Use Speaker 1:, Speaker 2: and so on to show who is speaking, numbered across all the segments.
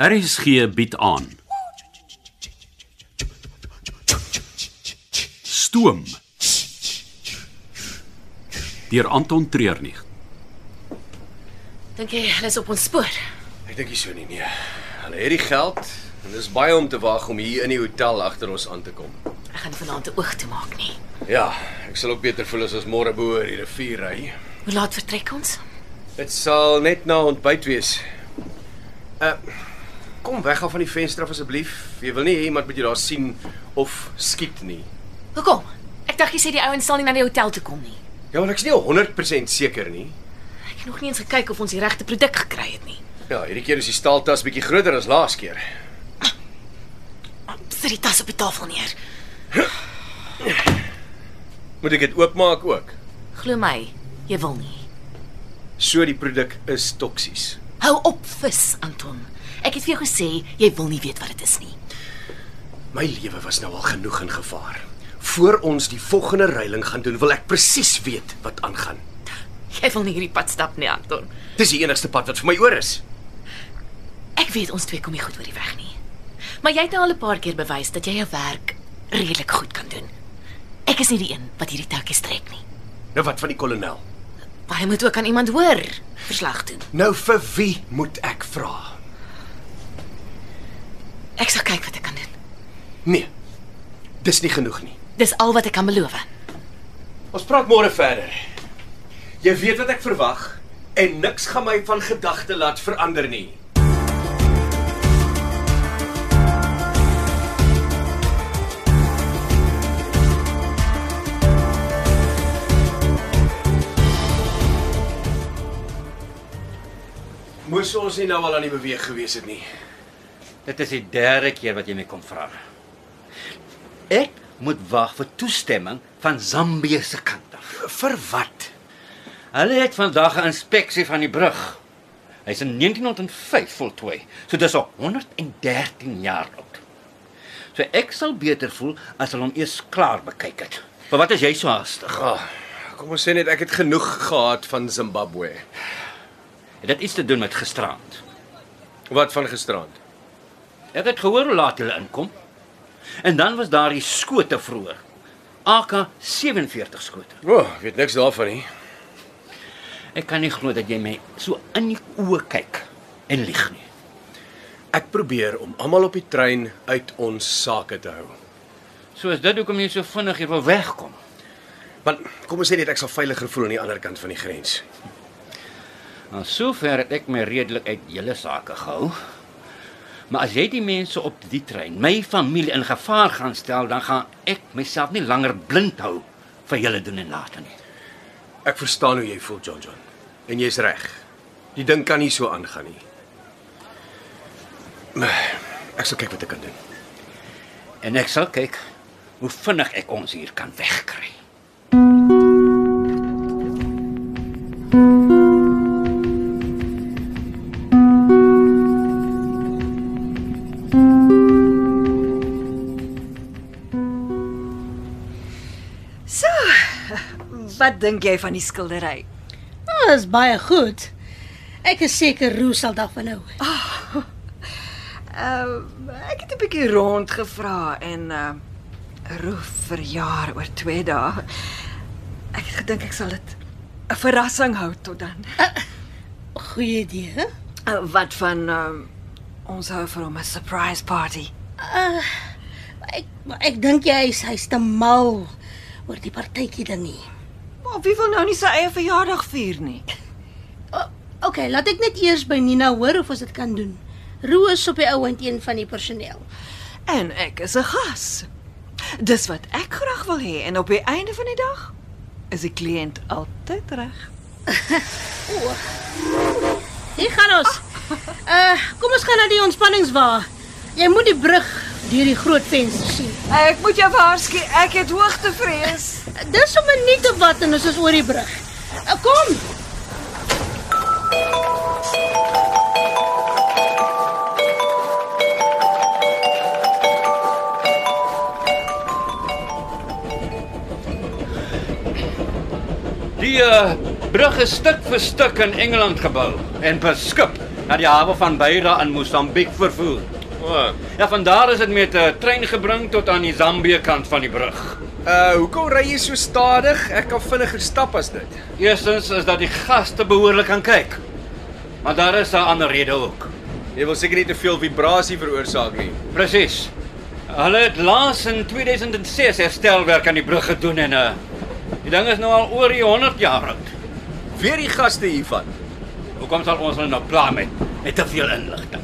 Speaker 1: RSG bied aan. Stoom. Deur Anton Treurnig.
Speaker 2: Dink jy hulle is op ons spoor?
Speaker 3: Ek dink nie so nie, nee. Hulle het die geld en dis baie om te wag om hier in die hotel agter ons aan te kom.
Speaker 2: Ek gaan vanaand 'n oog toe maak nie.
Speaker 3: Ja, ek sal ook beter voel as ons môre bo oor die rivier ry.
Speaker 2: Hoe laat vertrek ons?
Speaker 3: Dit sal net na ontbyt wees. Uh kom weg af van die venster af asseblief. Jy wil nie hê iemand moet jou daar sien of skiet nie.
Speaker 2: Hoekom? Ek dink jy sê die ouens sal nie na die hotel toe kom nie.
Speaker 3: Ja, maar ek's nie 100% seker nie.
Speaker 2: Ek het nog nie eens gekyk of ons die regte produk gekry het nie.
Speaker 3: Ja, hierdie keer is die staaltas bietjie groter as laas keer.
Speaker 2: Sit die tas op die tafel neer.
Speaker 3: Moet ek dit oopmaak ook?
Speaker 2: Glo my, jy wil nie.
Speaker 3: So die produk is toksies.
Speaker 2: Hou op vis, Anton. Ek het vir jou gesê jy wil nie weet wat dit is nie.
Speaker 3: My lewe was nou al genoeg in gevaar. Voor ons die volgende reiling gaan doen, wil ek presies weet wat aangaan.
Speaker 2: Jy wil nie hierdie pad stap nie, Anton.
Speaker 3: Dis die enigste pad wat vir my oor is.
Speaker 2: Ek weet ons twee kom nie goed oor die weg nie. Maar jy het nou al 'n paar keer bewys dat jy jou werk redelik goed kan doen. Ek is nie die een wat hierdie touwtjies trek nie.
Speaker 3: Nou wat van die kolonel?
Speaker 2: Baie moet ook aan iemand hoor verslag doen.
Speaker 3: Nou vir wie moet ek vra?
Speaker 2: Ek sal kyk wat ek kan doen.
Speaker 3: Nee. Dis nie genoeg nie.
Speaker 2: Dis al wat ek kan beloof.
Speaker 3: Ons praat môre verder. Jy weet wat ek verwag en niks gaan my van gedagte laat verander nie. Moes ons nie nou al aan die beweeg gewees het nie.
Speaker 4: Dit is die derde keer wat jy my kom vra. Ek moet wag vir toestemming van Zambië se kant af.
Speaker 3: Vir wat?
Speaker 4: Hulle het vandag 'n inspeksie van die brug. Hy's in 1905 voltooi. So dis al 113 jaar oud. So ek sal beter voel as hulle hom eers klaar bekyk het. Maar wat is jy so haastig?
Speaker 3: Ah, kom ons sê net ek het genoeg gehad van Zimbabwe.
Speaker 4: Het dit iets te doen met gisterand?
Speaker 3: Wat van gisterand?
Speaker 4: Ek het gehoor hoe laat hulle inkom. En dan was daar die skote vroeër. AK 47 skote.
Speaker 3: O, oh, ek weet niks daarvan nie.
Speaker 4: Ek kan nie glo dat jy my so in die oë kyk en lieg nie.
Speaker 3: Ek probeer om almal op die trein uit ons sake te hou.
Speaker 4: So is dit hoekom jy so vinnig hier wil wegkom.
Speaker 3: Want kom ons sê net ek sal veiliger voel aan die ander kant van die grens.
Speaker 4: Aan Nou, sover het ek my redelik uit julle sake gehou. Maar as jy die mense op die trein, my familie in gevaar gaan stel, dan gaan ek myself nie langer blind hou vir julle doen en late nie.
Speaker 3: Ek verstaan hoe jy voel, John John. En jy's reg. Die ding kan nie so aangaan nie. Maar Ek sal kyk wat ek kan doen.
Speaker 4: En ek sal kyk hoe vinnig ek ons hier kan wegkry.
Speaker 5: Wat dink jy van die skildery?
Speaker 6: Oh, is baie goed. Ek is seker Roo sal daarvan hou.
Speaker 5: Uh ek het 'n bietjie rond gevra en uh Roof verjaar oor 2 dae. Ek het gedink ek sal dit 'n verrassing hou tot dan.
Speaker 6: Goeie idee. hè?
Speaker 5: Uh, wat van uh ons hou vir hom 'n surprise party.
Speaker 6: Ek maar ek dink jy is hy's te mal oor die partytjie dingie.
Speaker 5: Maar wie wil nou nie sy eie verjaardag vier nie?
Speaker 6: O, okay, laat ek net eers by Nina hoor of ons dit kan doen. Roo is op die ou end een van die personeel.
Speaker 5: En ek is 'n gas. Dis wat ek graag wil hê en op die einde van die dag is die kliënt altyd reg.
Speaker 6: Hier gaan ons. Uh, kom ons gaan na die ontspanningswa. Jy moet die brug deur die groot venster sien.
Speaker 5: Ek moet jou waarsku, ek het hoogtevrees.
Speaker 6: Dis om 'n minuut of wat en ons is oor die brug. Uh, kom.
Speaker 4: eh, Die uh, brug is stuk vir stuk in Engeland gebou en beskik. na die hawe van Beira in Mosambiek vervoer.
Speaker 3: O. Oh.
Speaker 4: Ja, van daar is dit met 'n trein gebring tot aan die Zambië kant van die brug.
Speaker 3: Uh hoekom ry jy so stadig? Ek kan vinniger stap as dit.
Speaker 4: Eerstens is dat die gaste behoorlik kan kyk. Maar daar is 'n ander rede ook.
Speaker 3: Jy wil seker nie te veel vibrasie veroorsaak nie.
Speaker 4: Presies. Hulle het laas in 2006 herstelwerk aan die brug gedoen en uh die ding is nou al oor die 100 jaar oud.
Speaker 3: Weer die gaste hiervan.
Speaker 4: Hoekom sal ons hulle nou pla met met te veel inligting?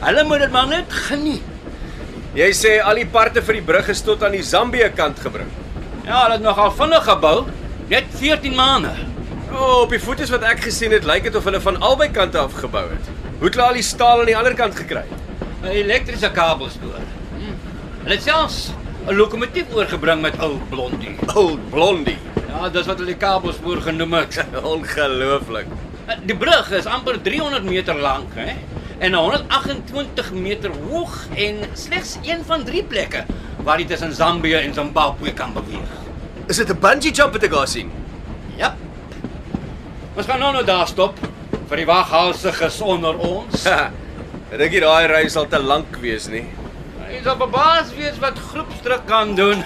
Speaker 4: Hulle moet dit maar net geniet.
Speaker 3: Jy sê al die parte vir die brug is tot aan die Zambië kant gebring.
Speaker 4: Ja, hulle het nogal vinnig gebou, net 14 maande.
Speaker 3: O, oh, op die foto's wat ek gesien het, lyk dit of hulle van albei kante af gebou het. Hoe het hulle al die staal aan die ander kant gekry?
Speaker 4: 'n Elektriese kabels deur. Hm. Hulle het selfs 'n lokomotief oorgebring met ou blondie.
Speaker 3: O, oh, blondie.
Speaker 4: Ja, dis wat hulle die kabelspoor genoem het.
Speaker 3: Ongelooflik.
Speaker 4: Die brug is amper 300 meter lank, hè? En 128 meter hoog en slegs een van drie plekke waar jy tussen Zambië en Zimbabwe kan beweeg.
Speaker 3: Is dit 'n bungee jump wat ek daar sien?
Speaker 4: Ja. Ons gaan nou nou daar stop vir die waghalsiges onder ons.
Speaker 3: Ek dink nie daai ry sal te lank wees nie.
Speaker 4: Jy sal verbaas wees wat groepsdruk kan doen.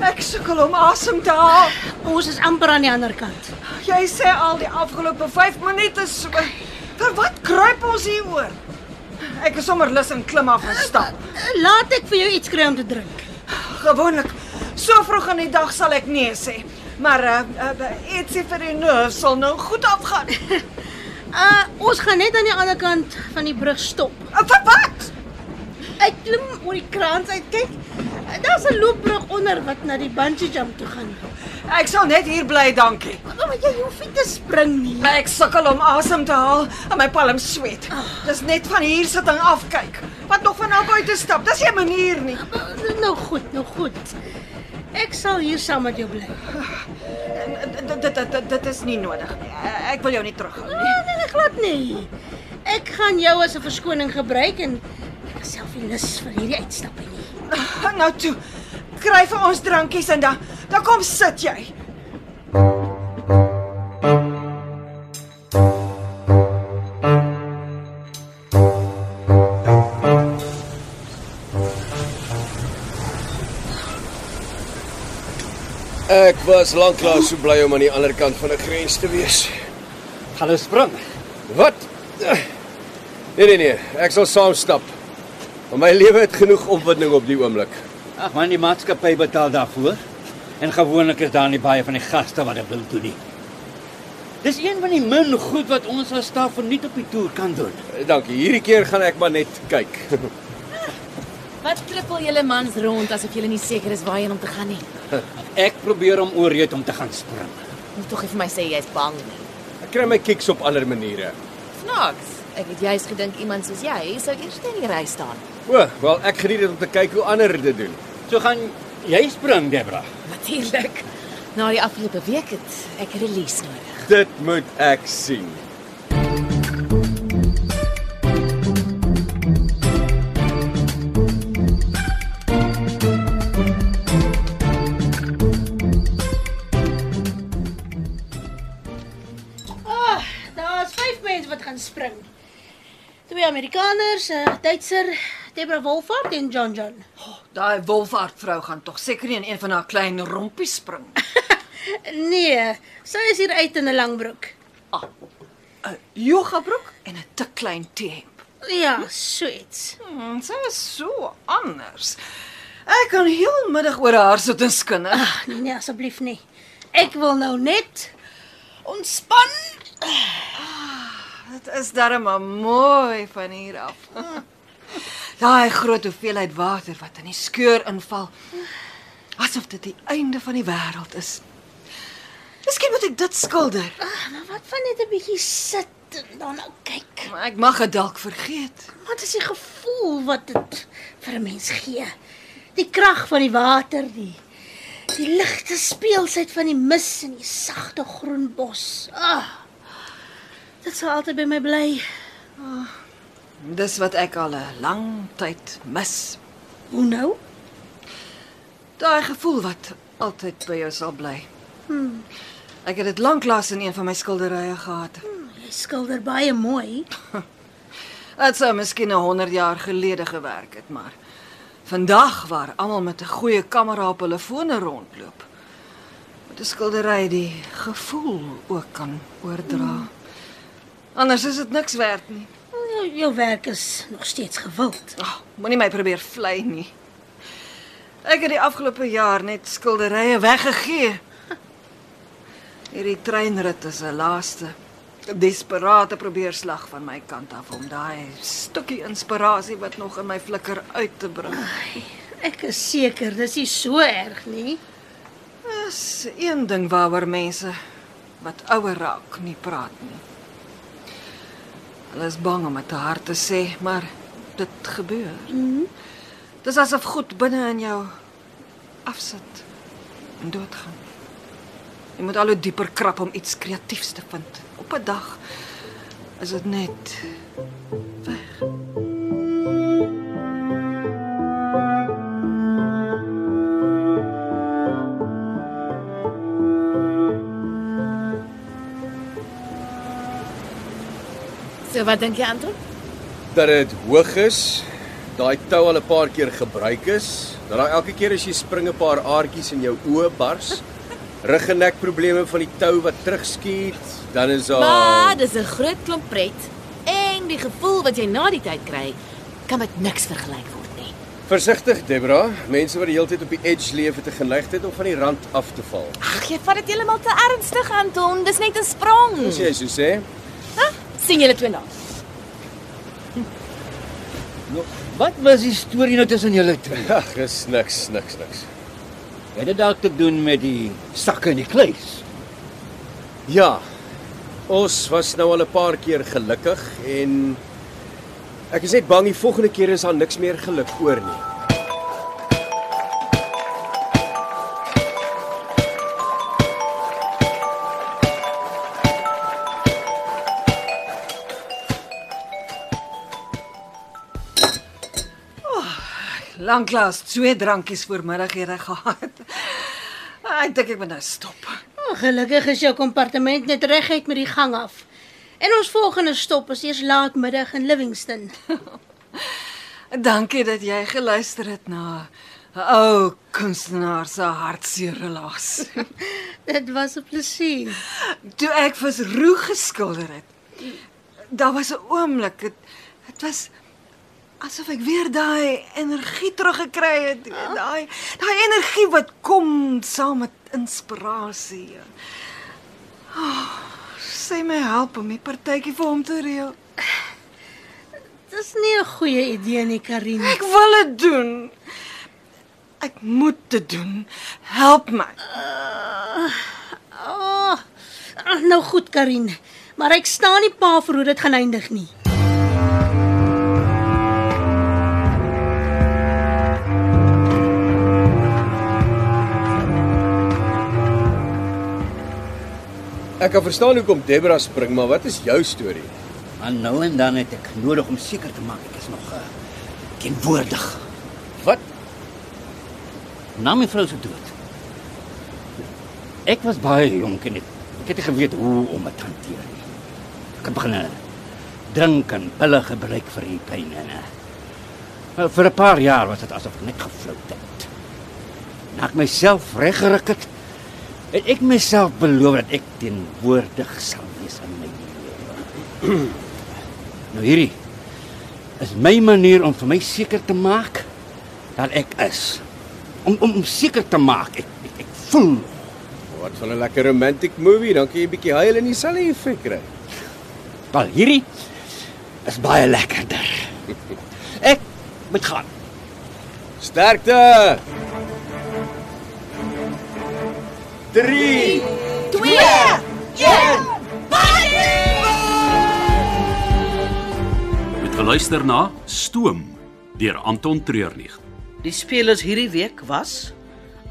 Speaker 5: Ek sukkel om asem te haal.
Speaker 6: Ons is amper aan die ander kant.
Speaker 5: Jy sê al die afgelope 5 minute so. Vir wat kruip ons hier oor? Ek is sommer lus en klim af en stap.
Speaker 6: Eh, Laat ek vir jou iets kry om te drink.
Speaker 5: Gewoonlik so vroeg in die dag sal ek nee sê. Maar uh, uh, ietsie vir die nerve sal nou goed afgaan. Uh,
Speaker 6: Uh ons gaan net aan die ander kant van die brug stop.
Speaker 5: vir wat?
Speaker 6: Ek klim oor die kraans uit kyk. uh, Daar's 'n loopbrug onder wat na die bungee jump toe gaan. Oh,
Speaker 5: Ek sal net hier bly, dankie.
Speaker 6: Maar jy hoef nie te spring nie.
Speaker 5: Ek sukkel om asem te haal en my palms sweet. Dis net van hier sitting afkyk. Wat nog van naby te stap. Dis nie 'n manier nie.
Speaker 6: Nou goed, nou goed. Ek sal hier saam met jou bly. Eh,
Speaker 5: Dit- Dit dit dit dit is nie nodig nie. Eh, Ek wil jou nie terughou nie.
Speaker 6: Nee, nee, glad nie. Ek gaan jou as 'n verskoning gebruik en ek is self nie lus vir hierdie uitstappie nie.
Speaker 5: Nou toe. Kry vir ons drankies en dan dan kom sit jy.
Speaker 3: Ek was lanklaas so bly om aan die ander kant van 'n grens te wees.
Speaker 4: Gaan hulle spring?
Speaker 3: Wat? Nee nee nee, ek sal saam stap. Want my lewe het genoeg opwinding op die oomblik.
Speaker 4: Ag man, die maatskappy betaal daarvoor. En gewoonlik is daar nie baie van die gaste wat dit wil doen nie. Dis een van die min goed wat ons as staf verniet op die toer kan doen.
Speaker 3: Dankie. Hierdie keer gaan ek maar net kyk.
Speaker 2: Wat trippel julle mans rond asof julle nie seker is waarheen om te gaan nie?
Speaker 4: Ek probeer om ooreed om te gaan spring.
Speaker 2: Moet tog nie vir my sê jy's bang nie.
Speaker 3: Ek kry my kicks op ander maniere.
Speaker 2: Snaaks. Ek het juis gedink iemand soos jy sou eers in die ry staan.
Speaker 3: O, wel ek geniet dit om te kyk hoe ander dit doen.
Speaker 4: So gaan jy spring, Debra.
Speaker 2: Natuurlik. Na die afgelope week het ek release nodig.
Speaker 3: Dit moet ek sien.
Speaker 6: Ag, Ah, daar's vyf mense wat gaan spring. Twee Amerikaners, 'n Duitser, Debra Wolfart en John John.
Speaker 5: Daai wolfaardvrou gaan tog seker nie in een van haar klein rompies spring.
Speaker 6: Nee, sy is hier uit in 'n lang broek.
Speaker 5: 'n Yoga broek en 'n te klein T-hemp.
Speaker 6: Ja, so iets.
Speaker 5: Hmm, sy is so anders. Ek kan heel middag oor haar sit en skinder.
Speaker 6: Ag, nee, nee asseblief nie. Ek wil nou net ontspan.
Speaker 5: Dit is darem maar mooi van hier af. Daai groot hoeveelheid water wat in die skeur inval. Asof dit die einde van die wêreld is. Miskien moet ek dit skilder.
Speaker 6: Ag, Ah, maar wat van net 'n bietjie sit en dan nou kyk.
Speaker 5: Maar ek mag dit dalk vergeet.
Speaker 6: Wat is die gevoel wat dit vir 'n mens gee? Die krag van die water, die die ligte speelsheid van die mis en die sagte groen bos. Ah. Dit sal altyd by my bly.
Speaker 5: Dis wat ek al 'n lang tyd mis.
Speaker 6: Hoe nou?
Speaker 5: Daai gevoel wat altyd by jou sal bly. Ek het dit lanklaas in een van my skilderye gehad.
Speaker 6: Hm, Jy skilder baie mooi.
Speaker 5: Dit sou miskien 'n 100 jaar gelede gewerk het, maar vandag waar almal met 'n goeie kamera op hulle fone rondloop, moet 'n skildery die gevoel ook kan oordra. Anders is dit niks werd nie.
Speaker 6: Jou, jou werk is nog steeds gewild.
Speaker 5: Oh, Moenie my probeer vlei nie. Ek het die afgelope jaar net skilderye weggegee. Hierdie treinrit is 'n laaste desperate probeerslag van my kant af om daai stukkie inspirasie wat nog in my flikker uit te bring.
Speaker 6: Ek is seker dis nie so erg nie.
Speaker 5: Dis een ding waaroor mense wat ouer raak nie praat nie. Hulle is bang om dit te hard te sê, maar dit gebeur. Mm. Dis asof goed binne in jou afsit en doodgaan. Jy moet al hoe dieper krap om iets kreatiefs te vind. Op 'n dag is dit net
Speaker 7: So wat dink jy Anton?
Speaker 3: dat dit hoog is, daai tou al 'n paar keer gebruik is, dat daar elke keer as jy spring 'n paar aardjies in jou oë bars, rug en nek probleme van die tou wat terugskiet, dan is daar
Speaker 7: Maar dis 'n groot klomp pret en die gevoel wat jy na die tyd kry, kan met niks vergelyk word nie.
Speaker 3: Versigtig Debra, mense wat die hele tyd op die edge leef het 'n geneigtheid om van die rand af te val.
Speaker 7: Ag, jy vat dit heeltemal te ernstig Anton, dis net 'n sprong.
Speaker 3: As jy so sê,
Speaker 7: Hæ? sien julle twee nou?
Speaker 4: Nou, wat was die storie nou tussen julle twee?
Speaker 3: ag, is niks, niks, niks.
Speaker 4: Het dit dalk te doen met die sakke en die kluis?
Speaker 3: Ja. Ons was nou al 'n paar keer gelukkig en ek is net bang die volgende keer is daar niks meer geluk oor nie.
Speaker 5: lanklaas twee drankies voor middagete gehad. Ek dink ek moet nou stop.
Speaker 6: Oh, gelukkig is jou kompartement net reguit met die gang af. En ons volgende stop is eers laatmiddag in Livingston.
Speaker 5: Dankie dat jy geluister het na 'n ou kunstenaar se hartseer relaas.
Speaker 6: Dit was 'n plesier.
Speaker 5: Toe ek vir Roo geskilder het, daar was 'n oomblik, dit dit was asof ek weer daai energie teruggekry het, weet, daai daai energie wat kom saam met inspirasie. Oh, sê my help om die partytjie vir hom te reël.
Speaker 6: Dis nie 'n goeie idee nie, Karin.
Speaker 5: Ek wil dit doen. Ek moet dit doen. Help my.
Speaker 6: Oh, nou goed, Karin, maar ek staan nie pa vir hoe dit gaan eindig nie.
Speaker 3: Ek kan verstaan hoekom Debra spring, maar wat is jou storie?
Speaker 4: Maar nou en dan het ek nodig om seker te maak ek is nog uh, teenwoordig.
Speaker 3: Wat?
Speaker 4: Na my vrou se dood. Ek was baie jonk en ek, ek het nie geweet hoe om dit te hanteer nie. Ek het begin eh, drink en pille gebruik vir die pyn en eh, wel, vir 'n paar jaar was dit asof ek net geflout het. Na ek myself reggeruk het, het ek myself beloof dat ek teenwoordig sal wees in my lewe. Nou hierdie is my manier om vir my seker te maak dat ek is. Om om, om seker te maak ek ek, ek voel.
Speaker 3: Wat van 'n lekker romantic movie, dan kan jy 'n bietjie huil en dieselfde effek kry.
Speaker 4: Wel hierdie is baie lekkerder. Ek moet gaan.
Speaker 3: Sterkte! 3
Speaker 1: Met geluister na Stoom deur Anton Treurnig.
Speaker 8: Die spelers hierdie week was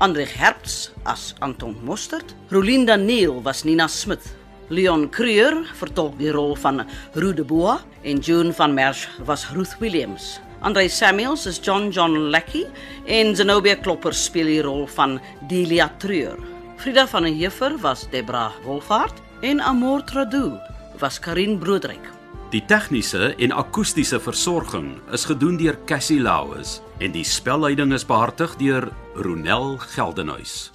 Speaker 8: Andreg Herps as Anton Mostert, Rolien Daniel was Nina Smit, Leon Creur vertolk die rol van Rude Boa en June van Merch was Ruth Williams. Andre Samuels is John John Lackey en Zenobia Klopper speel die rol van Delia Treur. Frida van der Heever was Debra Wolfhard en Amor Tradu was Karin Broodryk.
Speaker 1: Die tegniese en akoestiese versorging is gedoen deur Cassie Lauis en die spelleiding is behartig deur Ronel Geldenhuys.